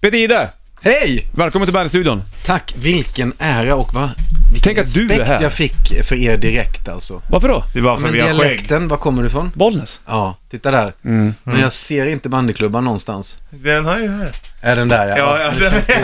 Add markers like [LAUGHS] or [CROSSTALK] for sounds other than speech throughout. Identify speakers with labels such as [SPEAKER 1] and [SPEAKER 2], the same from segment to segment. [SPEAKER 1] Peter Jihde,
[SPEAKER 2] Hej!
[SPEAKER 1] välkommen till Bergsstudion.
[SPEAKER 2] Tack, vilken ära och vad... Vilken
[SPEAKER 1] Tänk att du är
[SPEAKER 2] respekt
[SPEAKER 1] här.
[SPEAKER 2] jag fick för er direkt alltså.
[SPEAKER 1] Varför då?
[SPEAKER 3] Det är bara
[SPEAKER 2] Ja,
[SPEAKER 3] för
[SPEAKER 2] men
[SPEAKER 3] vi har skägg.
[SPEAKER 2] dialekten, var kommer du ifrån?
[SPEAKER 1] Bollnäs.
[SPEAKER 2] Ja, titta där.
[SPEAKER 1] Mm,
[SPEAKER 2] Men jag ser inte bandyklubban någonstans.
[SPEAKER 3] Den har ju här.
[SPEAKER 2] Är den där ja?
[SPEAKER 3] Ja, ja,
[SPEAKER 2] Nu
[SPEAKER 3] den-
[SPEAKER 2] känns det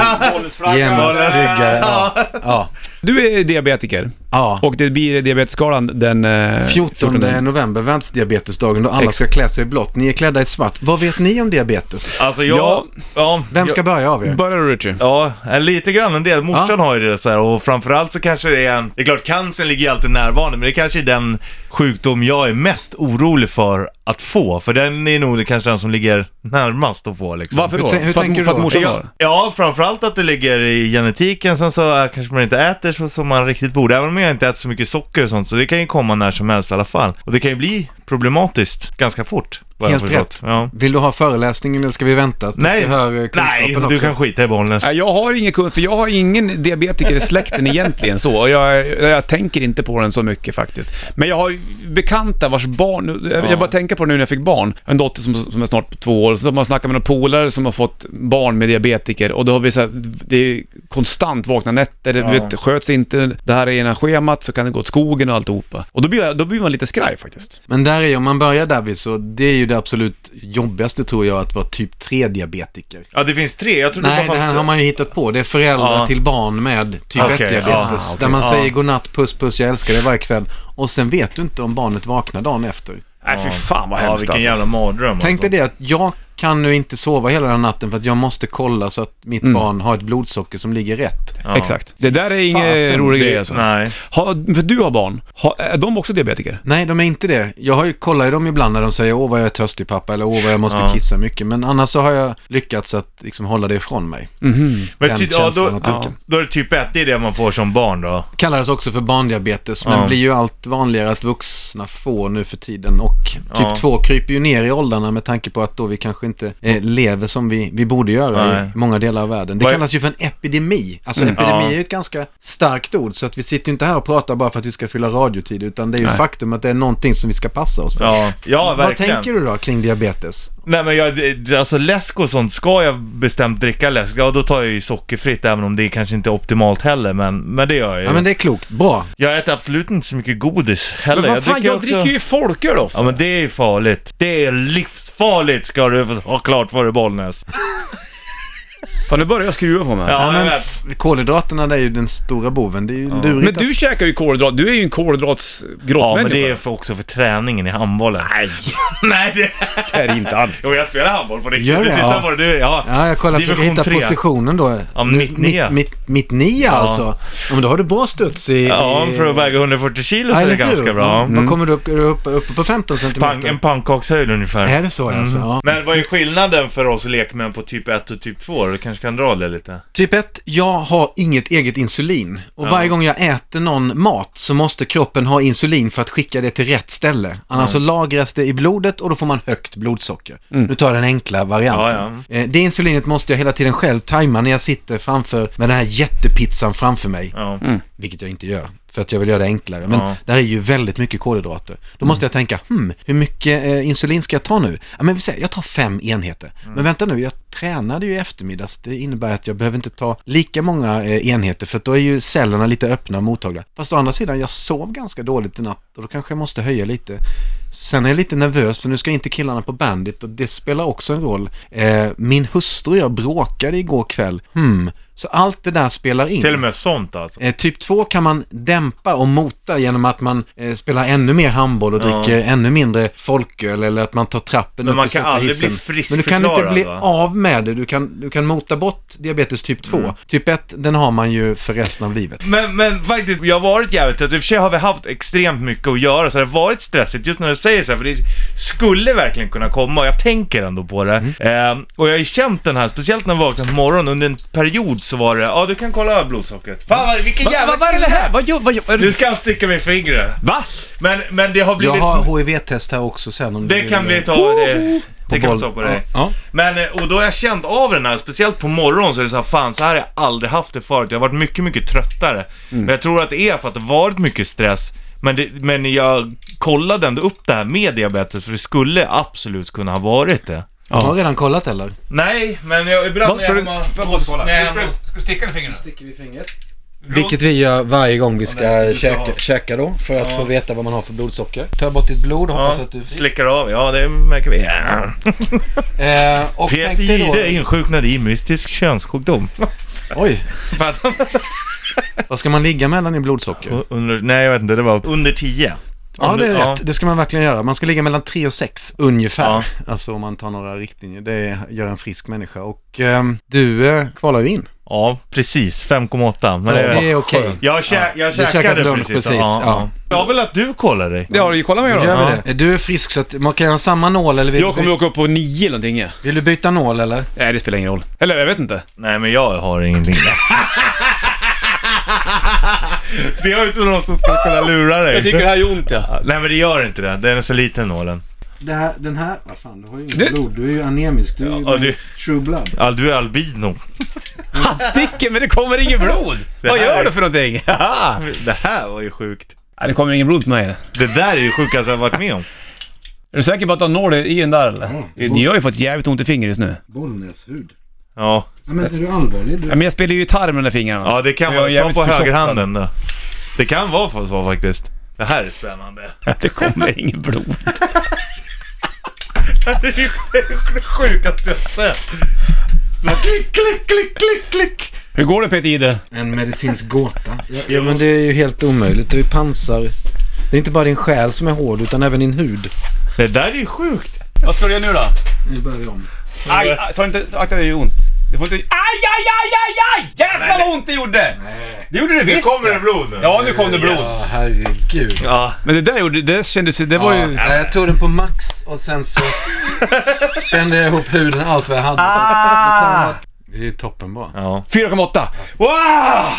[SPEAKER 2] Genast
[SPEAKER 3] Ja, den-
[SPEAKER 2] tryggare.
[SPEAKER 3] [LAUGHS]
[SPEAKER 2] Ja. Ja.
[SPEAKER 1] Du är diabetiker
[SPEAKER 2] ja.
[SPEAKER 1] och det blir diabetesskalan den... eh,
[SPEAKER 2] 14 november, världsdiabetesdagen, då alla
[SPEAKER 1] Ex-
[SPEAKER 2] ska klä sig i blått. Ni är klädda i svart. Vad vet ni om diabetes?
[SPEAKER 3] Alltså jag...
[SPEAKER 1] Ja.
[SPEAKER 3] Ja.
[SPEAKER 2] Vem ska
[SPEAKER 3] jag-
[SPEAKER 2] börja av er?
[SPEAKER 1] Börjar du Richie?
[SPEAKER 3] Ja, lite grann en del. Morsan har ju det så här och framförallt så kanske det är... Det är klart, cancern ligger ju alltid närvarande, men det kanske är den sjukdom jag är mest orolig för att få. För den är nog kanske den som ligger närmast att få liksom.
[SPEAKER 1] Varför då?
[SPEAKER 2] Hur tän- hur
[SPEAKER 1] för,
[SPEAKER 2] tänker
[SPEAKER 1] att,
[SPEAKER 2] du
[SPEAKER 1] för att
[SPEAKER 2] då?
[SPEAKER 1] morsan
[SPEAKER 3] Ja,
[SPEAKER 1] har?
[SPEAKER 3] ja, framförallt att det ligger i genetiken, sen så eh, kanske man inte äter så som man riktigt borde, även om jag inte äter så mycket socker och sånt, så det kan ju komma när som helst i alla fall. Och det kan ju bli problematiskt ganska fort, vad jag
[SPEAKER 2] Helt
[SPEAKER 3] har förstått.
[SPEAKER 2] rätt.
[SPEAKER 3] Ja.
[SPEAKER 2] Vill du ha föreläsningen eller ska vi vänta? tills
[SPEAKER 3] Nej,
[SPEAKER 2] vi hör eh,
[SPEAKER 3] nej,
[SPEAKER 2] kunskapen
[SPEAKER 3] du
[SPEAKER 2] också?
[SPEAKER 3] kan skita i bollen.
[SPEAKER 1] Nej, Jag har ingen kund, för jag har ingen diabetiker i släkten egentligen så. Och Jag, jag tänker inte på den så mycket faktiskt. Men jag har ju bekanta vars barn, jag, jag bara tänker på det nu när jag fick barn. En dotter som, som är snart två år, så har man snackat med några polare som har fått barn med diabetiker och då har vi så här, det är konstant vakna nätter,
[SPEAKER 3] Ja.
[SPEAKER 1] du vet, sköts inte det här ena schemat så kan det gå åt skogen och alltihopa. Och då blir, jag, då blir man lite skraj faktiskt.
[SPEAKER 2] Men där är ju, om man börjar där vid så det är ju det absolut jobbigaste tror jag att vara typ 3-diabetiker.
[SPEAKER 3] Ja, det finns tre. Jag trodde
[SPEAKER 2] Nej,
[SPEAKER 3] bara
[SPEAKER 2] det här
[SPEAKER 3] fanns-
[SPEAKER 2] har man ju hittat på. Det är föräldrar
[SPEAKER 3] Ja.
[SPEAKER 2] till barn med typ
[SPEAKER 3] Okej,
[SPEAKER 2] 1-diabetes.
[SPEAKER 3] ja, okej,
[SPEAKER 2] där man
[SPEAKER 3] ja.
[SPEAKER 2] säger godnatt, puss, puss, jag älskar dig varje kväll. Och sen vet du inte om barnet vaknar dagen efter.
[SPEAKER 1] Nej, fy fan vad
[SPEAKER 3] Ja,
[SPEAKER 1] hemskt
[SPEAKER 3] vilken
[SPEAKER 1] alltså.
[SPEAKER 3] jävla mardröm.
[SPEAKER 2] Tänk dig
[SPEAKER 3] alltså.
[SPEAKER 2] det att jag kan nu inte sova hela den här natten för att jag måste kolla så att
[SPEAKER 3] Mm.
[SPEAKER 2] mitt barn har ett blodsocker som ligger rätt.
[SPEAKER 3] Ja.
[SPEAKER 1] Exakt. Det där är ingen
[SPEAKER 2] Fasen,
[SPEAKER 1] rolig
[SPEAKER 3] Det-
[SPEAKER 1] grej alltså.
[SPEAKER 3] Nej.
[SPEAKER 1] Har, för du har barn, har, är de också diabetiker?
[SPEAKER 2] Nej, de är inte det. Jag har ju kollat i dem ibland när de säger åh vad jag är törstig pappa eller åh vad jag måste
[SPEAKER 3] Ja.
[SPEAKER 2] kissa mycket. Men annars så har jag lyckats att liksom hålla det ifrån mig.
[SPEAKER 3] Men
[SPEAKER 2] Den
[SPEAKER 3] ty- ja,
[SPEAKER 2] känslan
[SPEAKER 3] då,
[SPEAKER 2] och
[SPEAKER 3] ja.
[SPEAKER 2] tanken.
[SPEAKER 3] då är det typ ett, det är det man får som barn då.
[SPEAKER 2] Kallades också för barndiabetes, men
[SPEAKER 3] Ja.
[SPEAKER 2] blir ju allt vanligare att vuxna får nu för tiden. Och
[SPEAKER 3] Ja.
[SPEAKER 2] typ 2 kryper ju ner i åldrarna med tanke på att då vi kanske inte eh, lever som vi, vi borde göra
[SPEAKER 3] Nej.
[SPEAKER 2] i många delar av världen. Det
[SPEAKER 3] Vad- Mm.
[SPEAKER 2] kallas ju för en epidemi. Alltså epidemi
[SPEAKER 3] Ja.
[SPEAKER 2] är ju ett ganska starkt ord, så att vi sitter ju inte här och pratar bara för att vi ska fylla radiotid, utan det är ju faktum att det är någonting som vi ska passa oss för.
[SPEAKER 3] Ja, ja
[SPEAKER 2] Vad
[SPEAKER 3] verkligen.
[SPEAKER 2] tänker du då kring diabetes?
[SPEAKER 3] Nej men jag, det- alltså läsk och sånt, ska jag bestämt dricka läsk, ja då tar jag ju sockerfritt även om det kanske inte är optimalt heller men, men det gör jag ju.
[SPEAKER 2] Ja men det är klokt, bra.
[SPEAKER 3] Jag äter absolut inte så mycket godis heller.
[SPEAKER 1] Men vad fan, jag
[SPEAKER 3] också-
[SPEAKER 1] dricker ju folköl ofta.
[SPEAKER 3] Ja men det är ju farligt. Det är livsfarligt ska du få- ha klart för dig Bollnäs.
[SPEAKER 1] Fan, nu börjar jag skruva på mig.
[SPEAKER 3] Ja,
[SPEAKER 2] Ja,
[SPEAKER 3] jag
[SPEAKER 2] men
[SPEAKER 3] vet.
[SPEAKER 2] f- kolhydraterna det är ju den stora boven, det är ju lurigt
[SPEAKER 1] Men
[SPEAKER 2] att-
[SPEAKER 1] du käkar ju kolhydrat, du är ju en
[SPEAKER 3] Ja
[SPEAKER 1] kolhydratsgrottmänniska.
[SPEAKER 3] men det är för, också för träningen i handbollen.
[SPEAKER 1] Nej,
[SPEAKER 3] Nej det...
[SPEAKER 1] det är det inte alls.
[SPEAKER 3] Jo jag spelar handboll på riktigt.
[SPEAKER 2] Gör
[SPEAKER 3] Du
[SPEAKER 2] det?
[SPEAKER 3] tittar
[SPEAKER 2] Ja.
[SPEAKER 3] på det du. Ja.
[SPEAKER 2] Ja, jag kollar att försöka
[SPEAKER 3] Division
[SPEAKER 2] hitta
[SPEAKER 3] tre.
[SPEAKER 2] positionen då.
[SPEAKER 3] Ja,
[SPEAKER 2] Nu-
[SPEAKER 3] mitt nia.
[SPEAKER 2] Mitt, mitt, mitt nia alltså. Ja, men då har du bra studs i...
[SPEAKER 3] Ja,
[SPEAKER 2] i-
[SPEAKER 3] för att väga 140 kilo så
[SPEAKER 2] Ja,
[SPEAKER 3] är det
[SPEAKER 2] eller hur?
[SPEAKER 3] ganska bra.
[SPEAKER 2] Mm. Då kommer du upp, upp, upp på 15 centimeter.
[SPEAKER 3] Pan, en pannkakshöjd ungefär.
[SPEAKER 2] Är det så alltså? Ja.
[SPEAKER 3] Men vad är skillnaden för oss lekmän på typ 1 och typ 2? Du kanske kan dra det lite?
[SPEAKER 2] Typ 1, jag har inget eget insulin. Och
[SPEAKER 3] Ja.
[SPEAKER 2] varje gång jag äter någon mat så måste kroppen ha insulin för att skicka det till rätt ställe. Annars så lagras det i blodet och då får man högt blodsocker. Nu tar jag den enkla varianten. Eh, Det insulinet måste jag hela tiden själv tajma när jag sitter framför med den här jättepizzan framför mig.
[SPEAKER 3] Ja.
[SPEAKER 2] Vilket jag inte gör, för att jag vill göra det enklare. Men
[SPEAKER 3] Mm. Ja.
[SPEAKER 2] det här är ju väldigt mycket kolhydrater. Då måste jag tänka, hmm, hur mycket eh, insulin ska jag ta nu? Ja, men vi säger, jag tar fem enheter.
[SPEAKER 3] Mm.
[SPEAKER 2] Men vänta nu, jag tränade ju i eftermiddags. Det innebär att jag behöver inte ta lika många eh, enheter, för att då är ju cellerna lite öppna och mottagliga. Fast å andra sidan, jag sov ganska dåligt i natt och då kanske jag måste höja lite. Sen är jag lite nervös för nu ska inte killarna på bandit och det spelar också en roll. Eh, min hustru och jag bråkade igår kväll. Hmm. Så allt det där spelar in.
[SPEAKER 3] Till och med sånt alltså.
[SPEAKER 2] Eh, typ 2 kan man dämpa och mota genom att man eh, spelar ännu mer handboll och
[SPEAKER 3] Ja.
[SPEAKER 2] dricker ännu mindre folköl eller att man tar trappen
[SPEAKER 3] Men
[SPEAKER 2] upp
[SPEAKER 3] man
[SPEAKER 2] istället
[SPEAKER 3] kan
[SPEAKER 2] för
[SPEAKER 3] aldrig
[SPEAKER 2] hissen.
[SPEAKER 3] bli
[SPEAKER 2] Men du kan inte
[SPEAKER 3] friskförklarad,
[SPEAKER 2] bli
[SPEAKER 3] va?
[SPEAKER 2] av med det. Du kan, du kan mota bort diabetes typ 2.
[SPEAKER 3] Mm.
[SPEAKER 2] Typ 1, den har man ju för resten av livet.
[SPEAKER 3] Men, men faktiskt, jag har varit jävligt trött. I och för sig har vi haft extremt mycket att göra, så det har varit stressigt just när du säger så här, för det skulle verkligen kunna komma och jag tänker ändå på det. Ehm, och jag har ju känt den här, speciellt när jag vaknade på morgonen, under en period så var det, ja du kan kolla blodsockret. Fan vad, vilken
[SPEAKER 1] Vad
[SPEAKER 3] jävla
[SPEAKER 1] vad är det här? Vad gör, vad gör, är
[SPEAKER 3] Nu
[SPEAKER 1] det,
[SPEAKER 3] ska han sticka mig i fingret.
[SPEAKER 1] va?
[SPEAKER 3] Men, men det har
[SPEAKER 2] Jag
[SPEAKER 3] blivit...
[SPEAKER 2] har HIV-test här också sen om du
[SPEAKER 3] Det
[SPEAKER 2] vill,
[SPEAKER 3] kan vi
[SPEAKER 2] eh,
[SPEAKER 3] ta, det, det kan
[SPEAKER 2] boll.
[SPEAKER 3] vi ta på dig.
[SPEAKER 2] Ja.
[SPEAKER 3] Men, eh, och då har jag känt av den här, speciellt på morgonen så är det så här, fan så här har jag aldrig haft det förut. Jag har varit mycket, mycket tröttare.
[SPEAKER 2] Mm.
[SPEAKER 3] Men jag tror att det är för att det varit mycket stress. Men, det, men jag kollade ändå upp det här med diabetes, för det skulle absolut kunna ha varit det.
[SPEAKER 1] Ja.
[SPEAKER 2] Har redan kollat eller?
[SPEAKER 3] Nej, men jag, ibland
[SPEAKER 1] Vad ska
[SPEAKER 3] när
[SPEAKER 1] du...
[SPEAKER 3] jag är
[SPEAKER 1] Jag
[SPEAKER 3] hemma
[SPEAKER 1] måste kolla.
[SPEAKER 3] Nej,
[SPEAKER 1] Ska du-
[SPEAKER 3] jag
[SPEAKER 1] Ska du sticka den i fingrarna?
[SPEAKER 2] Sticker vi fingret. Vilket vi gör varje gång vi ska
[SPEAKER 3] Ja, det- det ska
[SPEAKER 2] käka,
[SPEAKER 3] ha.
[SPEAKER 2] käka då, för att
[SPEAKER 3] Ja.
[SPEAKER 2] få veta vad man har för blodsocker. Ta bort ditt blod, hoppas
[SPEAKER 3] Ja,
[SPEAKER 2] att du är frisk.
[SPEAKER 3] slickar av. Ja, det märker vi.
[SPEAKER 2] Eh, och
[SPEAKER 3] Peter
[SPEAKER 2] tänk dig då-
[SPEAKER 3] Jihde insjuknade i mystisk
[SPEAKER 2] [LAUGHS]
[SPEAKER 3] könssjukdom.
[SPEAKER 2] Oj,
[SPEAKER 3] För att han-
[SPEAKER 2] vad ska man ligga mellan i blodsocker?
[SPEAKER 3] under, nej, jag vet inte. Det var under 10.
[SPEAKER 2] Ja, det är
[SPEAKER 3] Ja.
[SPEAKER 2] rätt. Det ska man verkligen göra. Man ska ligga mellan 3 och 6 ungefär.
[SPEAKER 3] Ja.
[SPEAKER 2] Alltså om man tar några riktlinjer. Det gör en frisk människa. Och ehm, du eh, kvalar ju in.
[SPEAKER 3] Ja, precis. 5,8. Men
[SPEAKER 2] Fast
[SPEAKER 3] det-
[SPEAKER 2] det är okej.
[SPEAKER 3] Jag, kä- jag
[SPEAKER 2] du
[SPEAKER 3] käkade
[SPEAKER 2] käkade lunch
[SPEAKER 3] precis.
[SPEAKER 2] precis,
[SPEAKER 3] Ja,
[SPEAKER 2] ja.
[SPEAKER 3] ja. Jag vill att du kollar dig.
[SPEAKER 1] Ja, du, kolla mig
[SPEAKER 2] Då
[SPEAKER 1] då.
[SPEAKER 2] gör vi
[SPEAKER 3] Ja.
[SPEAKER 2] det. Du är frisk så att man kan göra samma nål eller vill,
[SPEAKER 1] Jag kommer
[SPEAKER 2] du,
[SPEAKER 1] ju åka upp på nio eller någonting. ja.
[SPEAKER 2] vill du byta nål eller?
[SPEAKER 1] Nej, det spelar ingen roll. Eller jag vet inte.
[SPEAKER 3] Nej, men jag har ingenting [LAUGHS] där. Så jag är inte någon som skulle kunna lura dig.
[SPEAKER 1] det här gör ont ja.
[SPEAKER 3] Nej, men det gör inte det. Den är så liten nålen.
[SPEAKER 2] Det här, den här, vad fan du har ju inget
[SPEAKER 1] Du-
[SPEAKER 2] blod. Du är ju anemisk. Du är
[SPEAKER 3] Ja, du-
[SPEAKER 2] true blood.
[SPEAKER 3] Ja, du är albino.
[SPEAKER 1] Han sticker men det kommer inget blod.
[SPEAKER 3] [LAUGHS] Det
[SPEAKER 1] Vad
[SPEAKER 3] här
[SPEAKER 1] gör
[SPEAKER 3] är-
[SPEAKER 1] du för någonting? [LAUGHS] Haha.
[SPEAKER 3] Det här var ju sjukt.
[SPEAKER 1] Nej, det kommer inget blod på mig. Är
[SPEAKER 3] Det där är ju sjukaste jag varit med om.
[SPEAKER 1] du säker på att du har nål i den där
[SPEAKER 3] Mm.
[SPEAKER 1] eller? Ni har ju fått jävligt ont i fingret just nu.
[SPEAKER 2] Bollnäshud.
[SPEAKER 3] Ja,
[SPEAKER 2] Ja, men är du allvarlig? Du...
[SPEAKER 1] Ja, Men jag spelar ju gitarr med de där fingrarna.
[SPEAKER 3] ja det
[SPEAKER 1] Jag
[SPEAKER 3] kan
[SPEAKER 1] är
[SPEAKER 3] vara. Ta
[SPEAKER 1] jävligt
[SPEAKER 3] på
[SPEAKER 1] förtjockad.
[SPEAKER 3] högerhanden då. Det kan vara så faktiskt. Det här är spännande.
[SPEAKER 1] [LAUGHS]
[SPEAKER 3] [LAUGHS]
[SPEAKER 1] Det kommer inget blod.
[SPEAKER 3] Det är ju det sjukaste jag sett. Bara Klick, klick, klick, klick, klick.
[SPEAKER 1] Hur går det Peter Jihde?
[SPEAKER 2] En medicinsk gåta. Ja, ja, men det är ju helt omöjligt. Du är pansar. Det är inte bara din själ som är hård utan även din hud.
[SPEAKER 3] Det där är ju sjukt.
[SPEAKER 1] Vad ska du göra nu då?
[SPEAKER 2] Nu börjar vi om.
[SPEAKER 1] Aj, aj, ta inte, akta dig, det gör ont. Du får inte... Aj, aj, aj, aj, aj! Jävlar vad ont det gjorde! Det gjorde det
[SPEAKER 3] Nu
[SPEAKER 1] visst!
[SPEAKER 3] kommer det blod nu.
[SPEAKER 1] Ja, nu kom det blod.
[SPEAKER 2] Ja, herregud.
[SPEAKER 3] Ja.
[SPEAKER 1] Men det där gjorde, det kändes ju, det var ju...
[SPEAKER 2] Ja, jag tog den på max och sen så [LAUGHS] spände jag ihop huden allt vad jag hade.
[SPEAKER 1] Ah!
[SPEAKER 2] Det är ju toppenbra.
[SPEAKER 3] ja.
[SPEAKER 1] 4,8! Wow!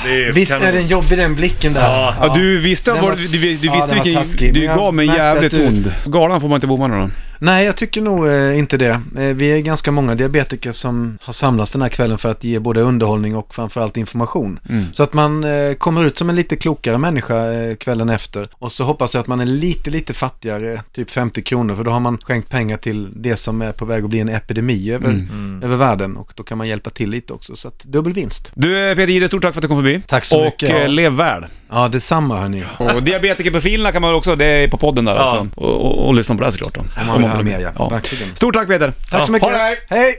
[SPEAKER 3] Det är
[SPEAKER 2] Visst
[SPEAKER 3] kanon.
[SPEAKER 2] är den jobbig den blicken där?
[SPEAKER 3] Ja.
[SPEAKER 1] Ja, du visste,
[SPEAKER 2] Den
[SPEAKER 1] var,
[SPEAKER 2] var-
[SPEAKER 1] du, du, du
[SPEAKER 2] ja,
[SPEAKER 1] visste
[SPEAKER 2] den var
[SPEAKER 1] vilken...
[SPEAKER 2] taskig,
[SPEAKER 1] du
[SPEAKER 2] men jag
[SPEAKER 1] gav mig
[SPEAKER 2] märkte
[SPEAKER 1] jävligt
[SPEAKER 2] att du-
[SPEAKER 1] ond. Galan får man inte bomma någon.
[SPEAKER 2] Nej, jag tycker nog eh, inte det. Eh, vi är ganska många diabetiker som har samlats den här kvällen för att ge både underhållning och framförallt information.
[SPEAKER 1] Mm.
[SPEAKER 2] Så att man eh, kommer ut som en lite klokare människa eh, kvällen efter. Och så hoppas jag att man är lite, lite fattigare, typ 50 kronor, för då har man skänkt pengar till det som är på väg att bli en epidemi över,
[SPEAKER 1] Mm.
[SPEAKER 2] över världen. Och då kan man hjälpa till lite också. Så att dubbel vinst.
[SPEAKER 1] Du Peter Jihde, stort tack för att du kom förbi.
[SPEAKER 2] Tack så
[SPEAKER 1] och,
[SPEAKER 2] mycket.
[SPEAKER 1] Och
[SPEAKER 2] Ja.
[SPEAKER 1] lev väl.
[SPEAKER 2] Ja, detsamma hörni.
[SPEAKER 1] Och diabetikerprofilerna kan man väl också, det är på podden där
[SPEAKER 3] Ja.
[SPEAKER 1] alltså. Och, och, och lyssna på det här såklart då.
[SPEAKER 2] Om man vill ha mer, ja.
[SPEAKER 1] Ja.
[SPEAKER 2] Verkligen.
[SPEAKER 1] Stort tack Peter.
[SPEAKER 2] Tack så mycket.
[SPEAKER 1] Ha det.
[SPEAKER 2] Hej!